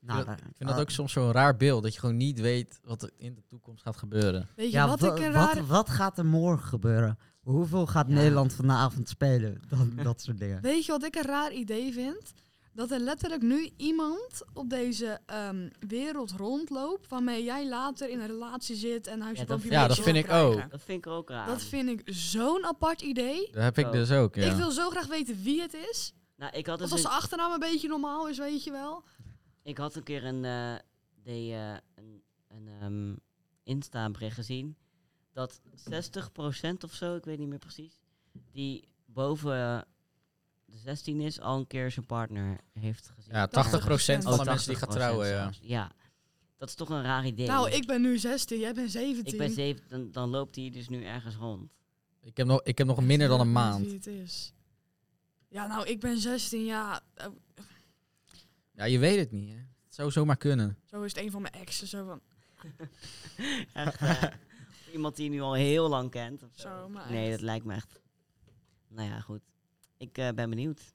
D: Nou,
C: ik
D: eh,
C: vind dat
D: eh,
C: ook soms zo'n raar beeld. Dat je gewoon niet weet wat er in de toekomst gaat gebeuren.
A: Weet je
D: ja,
A: wat
D: wa-
A: ik een rare...
D: wat, wat gaat er morgen gebeuren? Hoeveel gaat
B: Ja.
D: Nederland vanavond spelen? Dan, dat soort dingen.
A: Weet je wat ik een raar idee vind? Dat er letterlijk nu iemand op deze ehm, wereld rondloopt... waarmee jij later in een relatie zit en huis
B: Ja,
A: en
B: dat-
A: boompje
C: ja,
A: weet
C: dat
A: je wel
C: vind ik
A: krijgen.
C: ook.
B: Dat vind ik er ook raar.
A: Dat vind ik zo'n apart idee.
C: Dat heb ik
B: Oh.
C: dus ook, ja.
A: Ik wil zo graag weten wie het is.
B: nou, ik had
A: Of
B: dus
A: als
B: een-
A: zijn achternaam een beetje normaal is, weet je wel.
B: Ik had een keer een, eh, die, eh, een, een ehm, Insta-bericht gezien. Dat 60% of zo, ik weet niet meer precies, die boven eh, de 16 is, al een keer zijn partner heeft gezien.
C: Ja, 80% van de mensen die gaan
B: 80%
C: trouwen, ja.
B: zelfs. Ja, dat is toch een raar idee.
A: Nou, ik ben nu 16, jij bent 17.
B: Ik ben 7, dan, dan loopt hij dus nu ergens rond.
C: Ik heb nog, ik heb nog minder dan een
A: Ik weet niet
C: maand.
A: Wie het is. Ja, nou, ik ben 16 jaar. Eh,
C: Ja, je weet het niet, hè. Het zou zomaar kunnen.
A: Zo is het een van mijn exen. Zo van,
B: Echt, eh, iemand die je nu al heel lang kent. of zo.
A: Zo, maar
B: nee,
A: echt.
B: dat lijkt me echt. Nou ja, goed. Ik eh, ben benieuwd.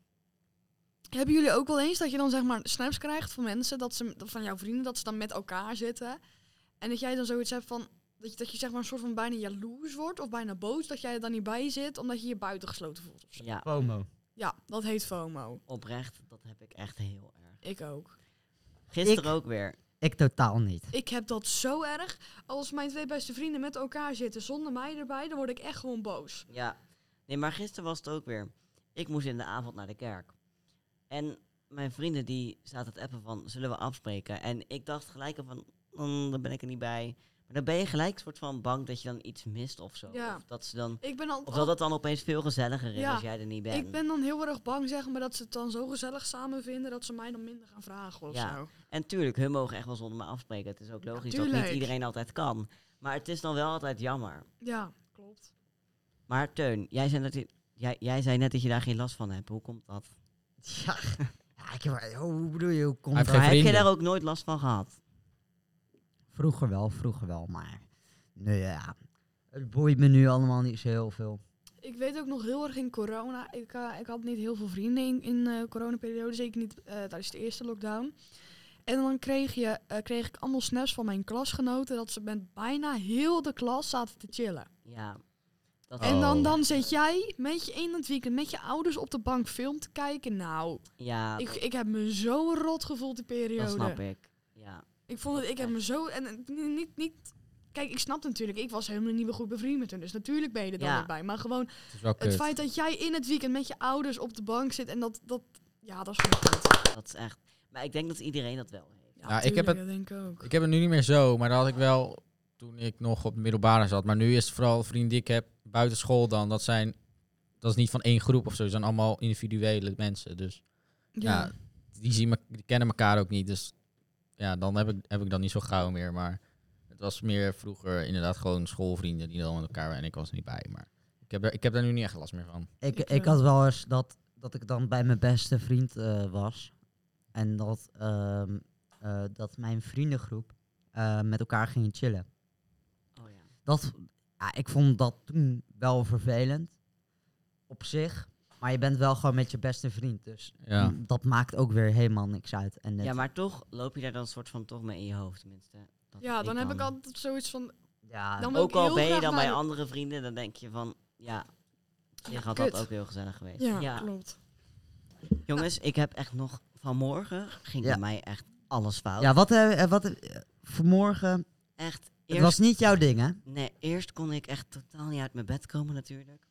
A: Hebben jullie ook wel eens dat je dan zeg maar snaps krijgt van mensen, dat ze, van jouw vrienden, dat ze dan met elkaar zitten. En dat jij dan zoiets hebt van, dat je, dat je zeg maar een soort van bijna jaloers wordt of bijna boos dat jij er dan niet bij zit, omdat je je buitengesloten voelt. of zo.
B: Ja,
D: FOMO.
A: Ja, dat heet FOMO.
B: oprecht, dat heb ik echt heel erg.
A: Ik ook.
B: Gisteren
D: Ik-
B: ook weer.
D: Ik totaal niet.
A: Ik heb dat zo erg. Als mijn twee beste vrienden met elkaar zitten zonder mij erbij, dan word ik echt gewoon boos.
B: Ja. Nee, maar gisteren was het ook weer. Ik moest in de avond naar de kerk. En mijn vrienden die zaten het appen van, zullen we afspreken? En ik dacht gelijk al van, "Mm, dan ben ik er niet bij. Maar dan ben je gelijk soort van bang dat je dan iets mist of zo.
A: Ja.
B: Of dat ze dan...
A: Ik ben al,
B: Of dat het dan opeens veel gezelliger is
A: Ja,
B: als jij er niet bent.
A: Ik ben dan heel erg bang, zeg maar, dat ze het dan zo gezellig samen vinden dat ze mij dan minder gaan vragen of
B: Ja,
A: zo.
B: En tuurlijk, hun mogen echt wel zonder me afspreken. Het is ook logisch dat
A: tuurlijk.
B: niet iedereen altijd kan. Maar het is dan wel altijd jammer.
A: Ja, klopt.
B: Maar Teun, jij zei, dat je- jij, jij zei net dat je daar geen last van hebt. Hoe komt dat?
D: Ja, ja ik heb, oh, hoe hoe bedoel je, hoe komt
C: Hij heeft
D: dat?
C: geen
B: Maar heb je
C: vrienden.
B: daar ook nooit last van gehad?
D: Vroeger wel, vroeger wel, maar... Nou ja, het boeit me nu allemaal niet zo heel veel.
A: Ik weet ook nog heel erg in corona. Ik, eh, ik had niet heel veel vrienden in, in eh coronaperiode, zeker niet eh, tijdens de eerste lockdown. En dan kreeg, je, eh, kreeg ik allemaal snaps van mijn klasgenoten dat ze met bijna heel de klas zaten te chillen.
B: Ja. Dat
C: Oh.
A: En dan, dan zit jij met je in het weekend met je ouders op de bank film te kijken. Nou,
B: Ja,
A: ik,
B: dat,
A: ik heb me zo rot gevoeld die periode.
B: dat snap ik. Ja.
A: Ik vond het, ik heb me zo. En en ni- niet, niet. Kijk, ik snap natuurlijk, ik was helemaal niet meer goed bevriend met hun. Dus natuurlijk ben je er dan
B: Ja.
A: niet bij. Maar gewoon
C: Het is wel
A: het
C: kut.
A: feit dat jij in het weekend met je ouders op de bank zit en dat. dat ja, dat is gewoon kut.
B: Dat is echt... Maar ik denk dat iedereen dat wel heeft.
A: Ja,
C: Ja, ik heb
A: tuurlijk,
C: het-
A: dat denk ik ook.
C: Ik heb het nu niet meer zo, maar dat had ik wel toen ik nog op de middelbare zat. Maar nu is het vooral vrienden die ik heb buiten school dan. Dat zijn, dat is niet van één groep of zo. Het zijn allemaal individuele mensen. Dus ja,
A: Ja.
C: die, zien me, die kennen elkaar ook niet. Dus ja, dan heb ik, heb ik dat niet zo gauw meer. Maar het was meer vroeger inderdaad gewoon schoolvrienden die dan met elkaar waren. En ik was er niet bij. Maar ik heb, er, ik heb daar nu niet echt last meer van.
D: Ik,
A: Ik,
D: ik,
A: eh,
D: had wel eens dat, dat ik dan bij mijn beste vriend eh, was. En dat, ehm, eh, dat mijn vriendengroep eh, met elkaar ging chillen.
B: Oh ja.
D: Dat, ja, ik vond dat toen wel vervelend. Op zich. Maar je bent wel gewoon met je beste vriend. Dus
C: Ja.
D: mm, dat maakt ook weer helemaal niks uit. En het-
B: ja, maar toch loop je daar dan soort van toch mee in je hoofd. Tenminste. Dat
A: ja, dan heb ik altijd zoiets van.
D: ja,
A: Dan wil ik
B: Ah, Ook al
A: heel
B: ben je
A: graag
B: dan
A: naar
B: bij
A: de-
B: andere vrienden, dan denk je van... Ja, je had
A: kut.
B: dat ook heel gezellig geweest.
A: Ja, klopt.
B: Jongens, ik heb echt nog... Vanmorgen ging
D: Ja.
B: bij mij echt alles fout.
D: ja, wat, eh, eh, wat eh, vanmorgen.
B: Echt,
D: Het was niet jouw ding, hè?
B: Nee, eerst kon ik echt totaal niet uit mijn bed komen natuurlijk.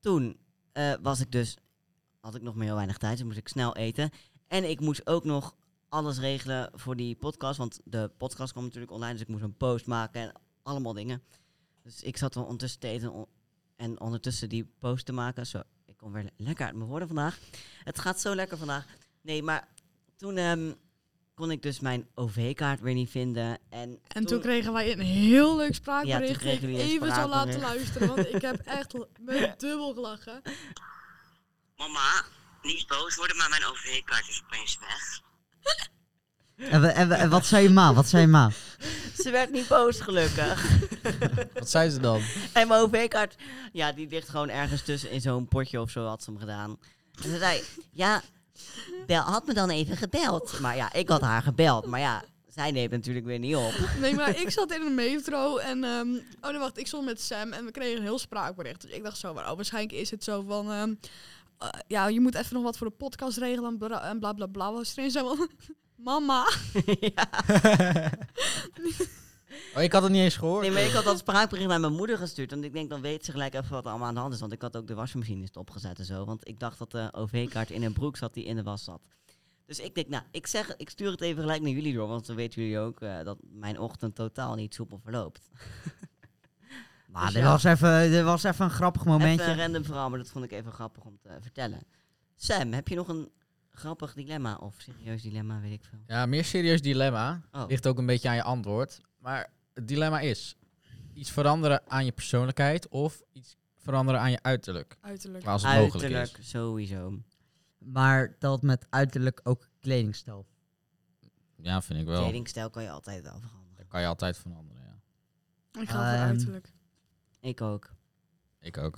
B: Toen eh, was ik dus, had ik nog maar heel weinig tijd, dus moest ik snel eten. En ik moest ook nog alles regelen voor die podcast, want de podcast kwam natuurlijk online, dus ik moest een post maken en allemaal dingen. Dus ik zat wel ondertussen te eten on- en ondertussen die post te maken. Zo, ik kom weer le- lekker uit mijn woorden vandaag. Het gaat zo lekker vandaag. Nee, maar toen ehm, kon ik dus mijn OV-kaart weer niet vinden. En,
A: En toen kregen wij een heel leuk
B: Ja,
A: spraakbericht.
B: toen kregen
A: ik
B: jullie een
A: even zo laten
B: spraakbericht.
A: luisteren, want ik heb echt l- me dubbel gelachen.
B: Mama, niet boos worden, maar mijn OV-kaart is opeens weg.
D: En, we- en, we- en wat zei je ma? Wat zei je ma?
B: Ze werd niet boos, gelukkig.
C: Wat zei ze dan?
B: en mijn OV-kaart, ja, die ligt gewoon ergens tussen in zo'n potje of zo had ze hem gedaan. En ze zei, ja, bel, had me dan even gebeld. Maar ja, ik had haar gebeld. Maar ja, zij neemt natuurlijk weer niet op.
A: Nee, maar ik zat in een metro en... ehm, oh nee, wacht, ik stond met Sam en we kregen een heel spraakbericht. Dus ik dacht zo, maar oh, waarschijnlijk is het zo van... ehm, eh, ja, je moet even nog wat voor de podcast regelen en bla en bla bla. bla. Was erin zo van... Mama.
C: Oh, ik had het niet eens gehoord.
B: Nee, maar ik had dat spraakbericht naar mijn moeder gestuurd. Want ik denk, dan weet ze gelijk even wat er allemaal aan de hand is. Want ik had ook de wasmachine stopgezet en zo. Want ik dacht dat de OV-kaart in een broek zat die in de was zat. Dus ik denk, nou, ik zeg, ik stuur het even gelijk naar jullie door. Want dan weten jullie ook eh, dat mijn ochtend totaal niet soepel verloopt.
D: Maar
B: Dus
D: dit,
B: ja.
D: was even, dit was even een grappig momentje.
B: Even een random verhaal, maar dat vond ik even grappig om te vertellen. Sam, heb je nog een grappig dilemma? Of serieus dilemma, weet ik veel.
C: Ja, meer serieus dilemma.
B: Oh.
C: Ligt ook een beetje aan je antwoord. Maar het dilemma is: iets veranderen aan je persoonlijkheid of iets veranderen aan je uiterlijk.
A: Uiterlijk.
C: Maar als het mogelijk
B: Uiterlijk,
C: is.
B: sowieso.
D: Maar telt met uiterlijk ook kledingstijl.
C: Ja, vind ik wel.
B: Kledingstijl kan je altijd afhandelen.
C: Daar kan je altijd veranderen. Ja.
A: Ik ga voor
D: Ehm,
A: uiterlijk.
B: Ik ook.
C: Ik ook.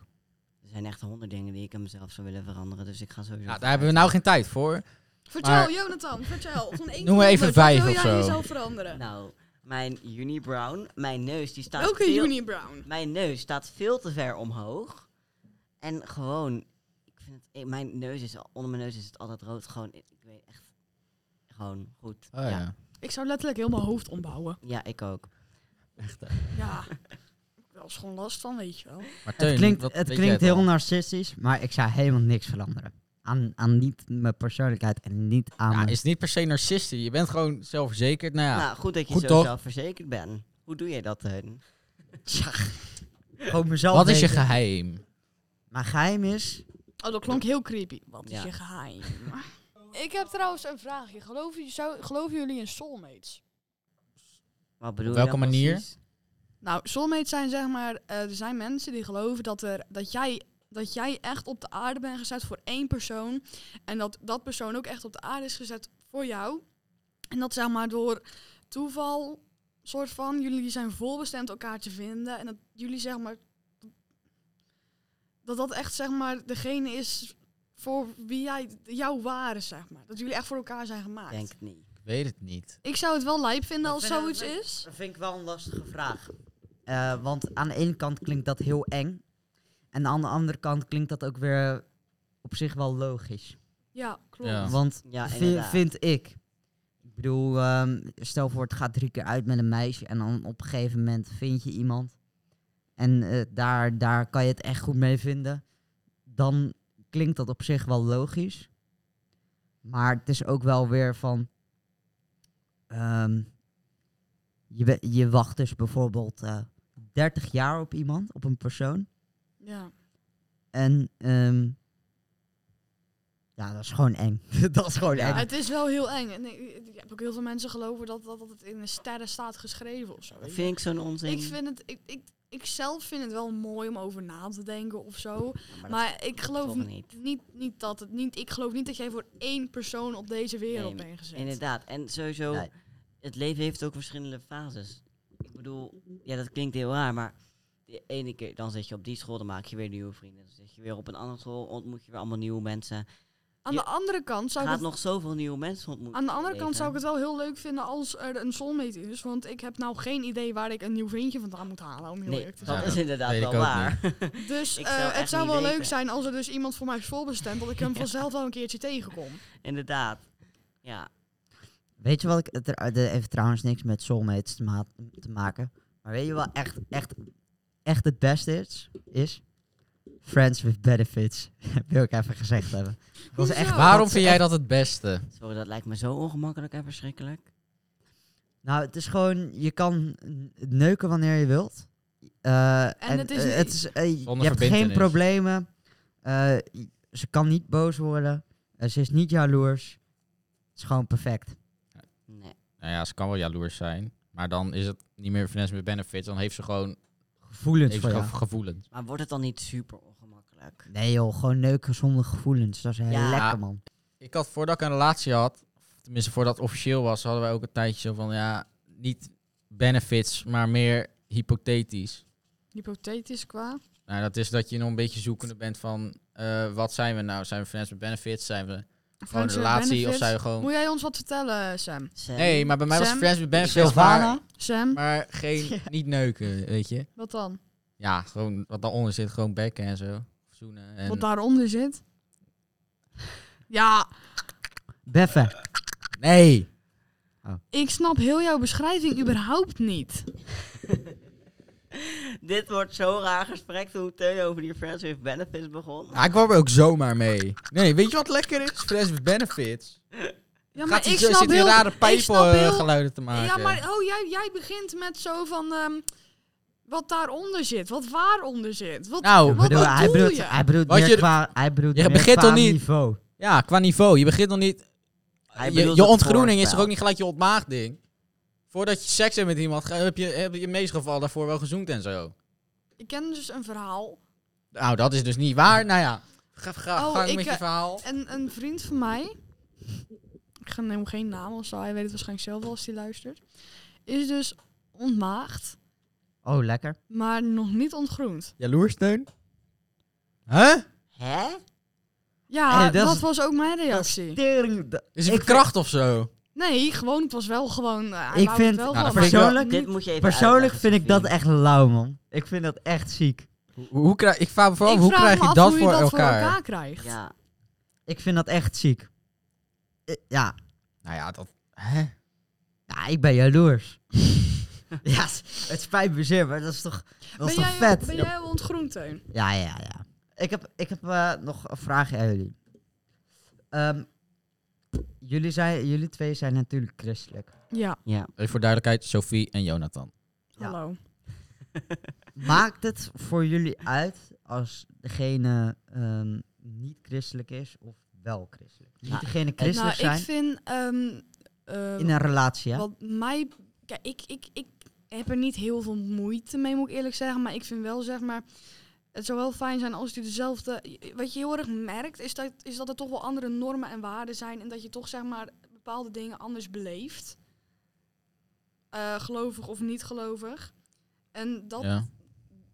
B: Er zijn echt honderd dingen die ik aan mezelf zou willen veranderen. Dus ik ga sowieso.
C: Ja, daar hebben we nou geen tijd voor.
A: Vertel,
C: maar-
A: Jonathan, vertel. Van één
C: Noem
A: tot
C: maar even
A: honderd, wat
C: vijf
A: wil
C: of
A: jij
C: zo.
A: jezelf veranderen?
B: Nou, mijn Uni Brown, mijn neus die staat.
A: Welke
B: veel-
A: Juni Brown?
B: Mijn neus staat veel te ver omhoog. En gewoon, ik vind het, ik- mijn neus is, al- onder mijn neus is het altijd rood. Gewoon, ik ik weet echt, gewoon goed.
C: Oh, ja.
B: ja.
A: Ik zou letterlijk heel mijn hoofd ombouwen.
B: Ja, ik ook.
A: Ja. Wel is gewoon last van, weet je wel.
C: Maar Teun,
D: Het klinkt,
C: wat
D: het
C: weet
D: klinkt
C: jij
D: heel
C: dan?
D: narcistisch, maar ik zou helemaal niks veranderen. Aan, aan niet mijn persoonlijkheid en niet aan
C: Ja,
D: mijn-
C: is niet per se narcistie. Je bent gewoon zelfverzekerd. Nou ja,
B: nou, goed dat je
C: goed
B: zo
C: toch?
B: zelfverzekerd bent. Hoe doe jij dat, Teun?
D: gewoon mezelf
C: wat is je
D: weten.
C: geheim?
D: Mijn geheim is...
A: Oh, dat klonk heel creepy. Wat
B: Ja.
A: is je geheim? Ik heb trouwens een vraagje. Geloven, je- zou- geloven jullie in soulmates?
B: Wat bedoel
C: Op
B: je
C: welke
B: dan
C: manier?
B: precies?
A: Nou, soulmates zijn zeg maar... eh, er zijn mensen die geloven dat, er, dat, jij, dat jij echt op de aarde bent gezet voor één persoon. En dat dat persoon ook echt op de aarde is gezet voor jou. En dat zeg maar door toeval, soort van... Jullie zijn voorbestemd elkaar te vinden. En dat jullie zeg maar... Dat dat echt zeg maar degene is voor wie jij jouw ware zeg maar. Dat jullie echt voor elkaar zijn gemaakt.
B: Denk het niet.
C: Ik weet het niet.
A: Ik zou het wel lijp vinden
D: Dat
A: als
D: vind ik-
A: zoiets
D: dat vind
A: is.
D: Dat vind ik wel een lastige vraag. Eh, want aan de ene kant klinkt dat heel eng. En aan de andere kant klinkt dat ook weer op zich wel logisch.
A: Ja, klopt.
C: Ja.
D: Want
B: Ja,
D: vi-
B: inderdaad.
D: vind ik. Ik bedoel, ehm, stel voor het gaat drie keer uit met een meisje en dan op een gegeven moment vind je iemand. En eh, daar, daar kan je het echt goed mee vinden. Dan klinkt dat op zich wel logisch. Maar het is ook wel weer van. ehm, je, we- je wacht dus bijvoorbeeld eh 30 jaar op iemand, op een persoon.
A: Ja.
D: En ehm, ja, dat is gewoon eng. dat is gewoon eng.
A: Het is wel heel eng. En ik, ik heb ook heel veel mensen geloven dat, dat, dat het in de sterren staat geschreven of zo.
B: Dat
A: weet
B: vind ik zo'n onzin.
A: je. Ik vind het... Ik, ik, ik zelf vind het wel mooi om over na te denken of zo.
B: Ja, maar dat
A: Maar ik
B: dat
A: geloof
B: toch
A: ni-
B: niet.
A: niet, niet dat het niet. Ik geloof niet dat jij voor één persoon op deze wereld
B: Nee,
A: bent gezet.
B: Inderdaad. En sowieso,
D: Nee.
B: het leven heeft ook verschillende fases. Ik bedoel, ja, dat klinkt heel raar, maar de ene keer dan zit je op die school, dan maak je weer nieuwe vrienden. Dan zit je weer op een andere school, ontmoet je weer allemaal nieuwe mensen.
A: Aan
B: je
A: de andere kant zou ik
B: Gaat
A: het-
B: nog zoveel nieuwe mensen ontmoeten.
A: Aan de
B: in je
A: andere kant zou ik
B: leven.
A: het wel heel leuk vinden als er een soulmate is. Want ik heb nou geen idee waar ik een nieuw vriendje vandaan moet halen. Om heel
B: Nee,
A: eerlijk te
B: dat
A: zijn.
C: Ja,
B: is inderdaad
C: weet ik
B: wel
C: ook
B: waar.
A: Dus
B: Ik
A: eh,
B: zou echt
A: het zou
B: niet
A: wel
B: weten.
A: leuk zijn als er dus iemand voor mij is voorbestemd. Dat ik hem vanzelf wel een keertje tegenkom.
B: inderdaad. Ja,
D: Weet je wat ik... Het er, de- even trouwens niks met soulmates te, ma- te maken. Maar weet je wat echt, echt, echt het beste is? is? Friends with benefits. wil ik even gezegd hebben. Dat is echt,
A: Hoezo?
C: Waarom
D: Nou, dat is
C: vind jij
D: echt-
C: dat het beste?
B: Sorry, dat lijkt me zo ongemakkelijk en verschrikkelijk.
D: Nou, het is gewoon, je kan n- neuken wanneer je wilt. Eh, en
A: het is
D: eh,
A: niet-
D: het is, eh, je
C: Zonder
D: hebt geen
C: verbintenis.
D: problemen. Eh, i- ze kan niet boos worden. Eh, ze is niet jaloers. Het is gewoon perfect.
B: Nee.
C: Nou ja, ze kan wel jaloers zijn. Maar dan is het niet meer finesse met benefits. Dan heeft ze gewoon,
D: Gevoelens
C: heeft
D: voor
C: ze
D: jou.
C: gewoon gevoelens.
B: Maar wordt het dan niet super ongemakkelijk?
D: Nee joh, gewoon neuken zonder gevoelens. Dat is heel
B: Ja.
D: lekker man.
C: Ik had voordat ik een relatie had, tenminste voordat het officieel was, hadden wij ook een tijdje zo van ja, niet benefits, maar meer hypothetisch.
A: Hypothetisch qua.
C: Nou, dat is dat je nog een beetje zoekende bent van eh, wat zijn we nou? Zijn we finesse met benefits? Zijn we gewoon een
A: Friends with
C: relatie? Of
A: benefits.
C: zijn we gewoon.
A: Moet jij ons wat vertellen, Sam?
B: Sam?
C: Nee, maar bij mij was
A: Sam?
C: friends with benefits.
D: Silvana?
C: Maar,
A: Sam,
C: maar geen, niet neuken, weet je.
A: wat dan?
C: Ja, gewoon wat daaronder zit, gewoon bekken en zo. Zoenen en...
A: Wat daaronder zit? Ja,
D: Beffen.
C: Nee!
A: ik snap heel jouw beschrijving überhaupt niet.
B: Dit wordt zo'n raar gesprek toen Teun over die Friends with Benefits begon.
C: Ja, ik kwam er ook zomaar mee. Nee, weet je wat lekker is? Friends with benefits.
A: Ja,
C: Gaat
A: maar
C: hij
A: ik
C: zo-
A: snap
C: zit
A: heel...
C: hier rare
A: ik snap heel-
C: pijpelgeluiden te maken.
A: Ja, maar oh, jij, jij begint met zo van... ehm, wat daaronder zit, wat waaronder zit. Wat,
C: Nou,
A: Oh. wat
D: Bedoel,
A: bedoelt
D: hij, bedoelt,
A: je?
D: hij bedoelt
C: Wat
D: meer
C: je-
D: qua, hij bedoelt
C: Je
D: meer
C: begint
D: qua
C: toch niet-
D: niveau.
C: Ja, qua niveau. Je begint nog niet...
B: Hij
C: Je,
B: bedoelt
C: je
B: het
C: ontgroening is
B: voorspel.
C: toch ook niet gelijk je ontmaagding? Voordat je seks hebt met iemand, ga- heb je, heb je in meeste gevallen daarvoor wel gezoend en zo.
A: Ik ken dus een verhaal.
C: Nou, dat is dus niet waar. Nou ja, ga, ga
A: Oh,
C: gang
A: ik,
C: met
A: eh,
C: je verhaal.
A: En een vriend van mij, ik ga neem geen naam of zo, hij weet het waarschijnlijk zelf wel als hij luistert, is dus ontmaagd,
D: Oh, lekker.
A: maar nog niet ontgroend.
C: Jaloers, Teun? Huh?
B: Hè?
A: Ja,
D: Hey, dat
A: dat,
D: is-
A: was ook mijn reactie.
D: Tering, dat-
C: Is het
D: Ik-
C: verkracht of zo?
A: Nee, gewoon, het was wel gewoon... eh, hij wou
D: Ik
A: het wel
D: vind-
C: Nou,
A: gewoon,
C: dat
A: maar
C: vind ik wel-
D: Persoonlijk,
B: Dit moet je even
D: persoonlijk
B: uitleggen,
D: vind ik dat
B: Sophie.
D: echt lauw man. Ik vind dat echt ziek.
C: Hoe, hoe krijg, ik vraag me vooral,
A: ik
C: hoe
A: vraag
C: krijg
A: me
C: je
A: af
C: dat
A: hoe
C: voor
A: je dat
C: elkaar?
A: voor elkaar krijgt.
B: Ja.
D: Ik vind dat echt ziek. I- ja.
C: Nou ja, dat... Hè?
D: ja, ik ben jaloers. ja, s- het spijt me zeer, maar dat is toch, dat
A: Ben
D: is toch
A: jij,
D: vet?
A: ben jij ontgroend, Teun?
D: Ja, ja, ja. Ik heb, ik heb eh, nog een vraag aan jullie. Ehm, jullie, zijn, jullie twee zijn natuurlijk christelijk.
A: Ja,
B: Ja.
C: Even voor duidelijkheid, Sophie en Jonathan.
D: Ja.
A: hallo.
D: Maakt het voor jullie uit als degene ehm, niet christelijk is of wel christelijk? Moet
B: Nou,
D: degene christelijk
A: nou, ik
D: zijn
A: vind... ehm, ehm,
D: in een relatie, hè?
A: Wat mij. Kijk, ik, ik, ik heb er niet heel veel moeite mee, moet ik eerlijk zeggen. Maar ik vind wel, zeg maar. Het zou wel fijn zijn als je dezelfde. Wat je heel erg merkt, is dat, is dat er toch wel andere normen en waarden zijn. En dat je toch, zeg maar, bepaalde dingen anders beleeft. Eh, gelovig of niet gelovig. En dat,
C: Ja.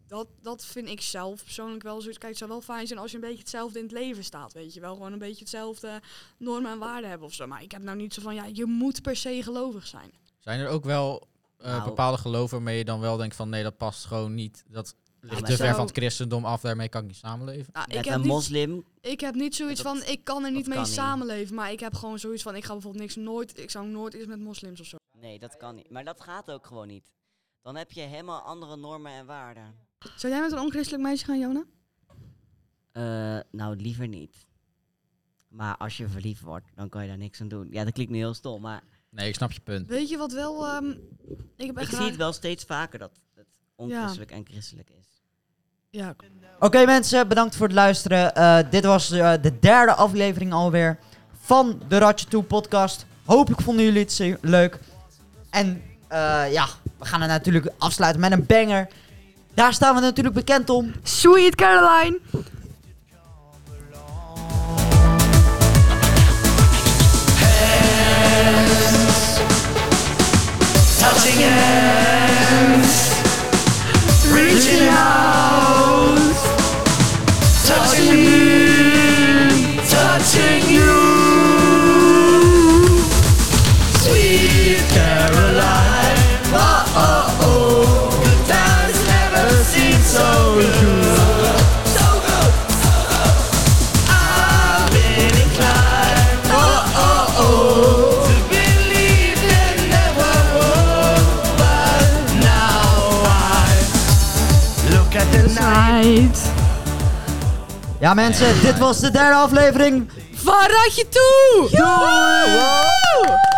A: dat, dat vind ik zelf persoonlijk wel zoiets. Kijk, het zou wel fijn zijn als je een beetje hetzelfde in het leven staat. Weet je wel, gewoon een beetje hetzelfde normen en waarden hebben of zo. Maar ik heb nou niet zo van, ja, je moet per se gelovig zijn.
C: Zijn er ook wel eh,
B: Nou.
C: bepaalde geloven waarmee je dan wel denkt van nee, dat past gewoon niet. Dat ligt
B: maar
C: te ver
A: zo-
C: van het christendom af, daarmee kan ik niet samenleven.
A: Nou, ik,
B: Met
A: heb
B: een
A: niet,
B: moslim.
A: ik heb niet zoiets
B: dat-
A: van, ik kan er niet
B: dat
A: mee
B: kan niet.
A: samenleven. Maar ik heb gewoon zoiets van, ik ga bijvoorbeeld niks nooit, ik zou nooit iets met moslims of zo.
B: Nee, dat kan niet. Maar dat gaat ook gewoon niet. Dan heb je helemaal andere normen en waarden.
A: Zou jij met een onchristelijk meisje gaan, Jona?
B: Eh, nou, liever niet. Maar als je verliefd wordt, dan kan je daar niks aan doen. Ja, dat klinkt nu heel stom, maar
C: Nee, ik snap je punt.
A: Weet je wat wel, ehm, ik heb echt
B: ik zie
A: raar-
B: het wel steeds vaker dat het onchristelijk en christelijk is.
A: Ja,
D: Oké mensen, bedankt voor het luisteren. Eh, dit was eh, de derde aflevering alweer van de Ratje Toe podcast. Hopelijk vonden jullie het ze- leuk. En eh, ja, we gaan het natuurlijk afsluiten met een banger. Daar staan we natuurlijk bekend om.
A: Sweet Caroline!
E: touching hands, reaching out, touching me, touching you. Sweet Caroline, oh oh oh, good times never seem so good. So good, so good. I've been inclined, oh oh oh, to believe it never would. But now at the night.
D: Ja mensen, dit was de derde aflevering.
A: Waar raad je toe?
D: Doei!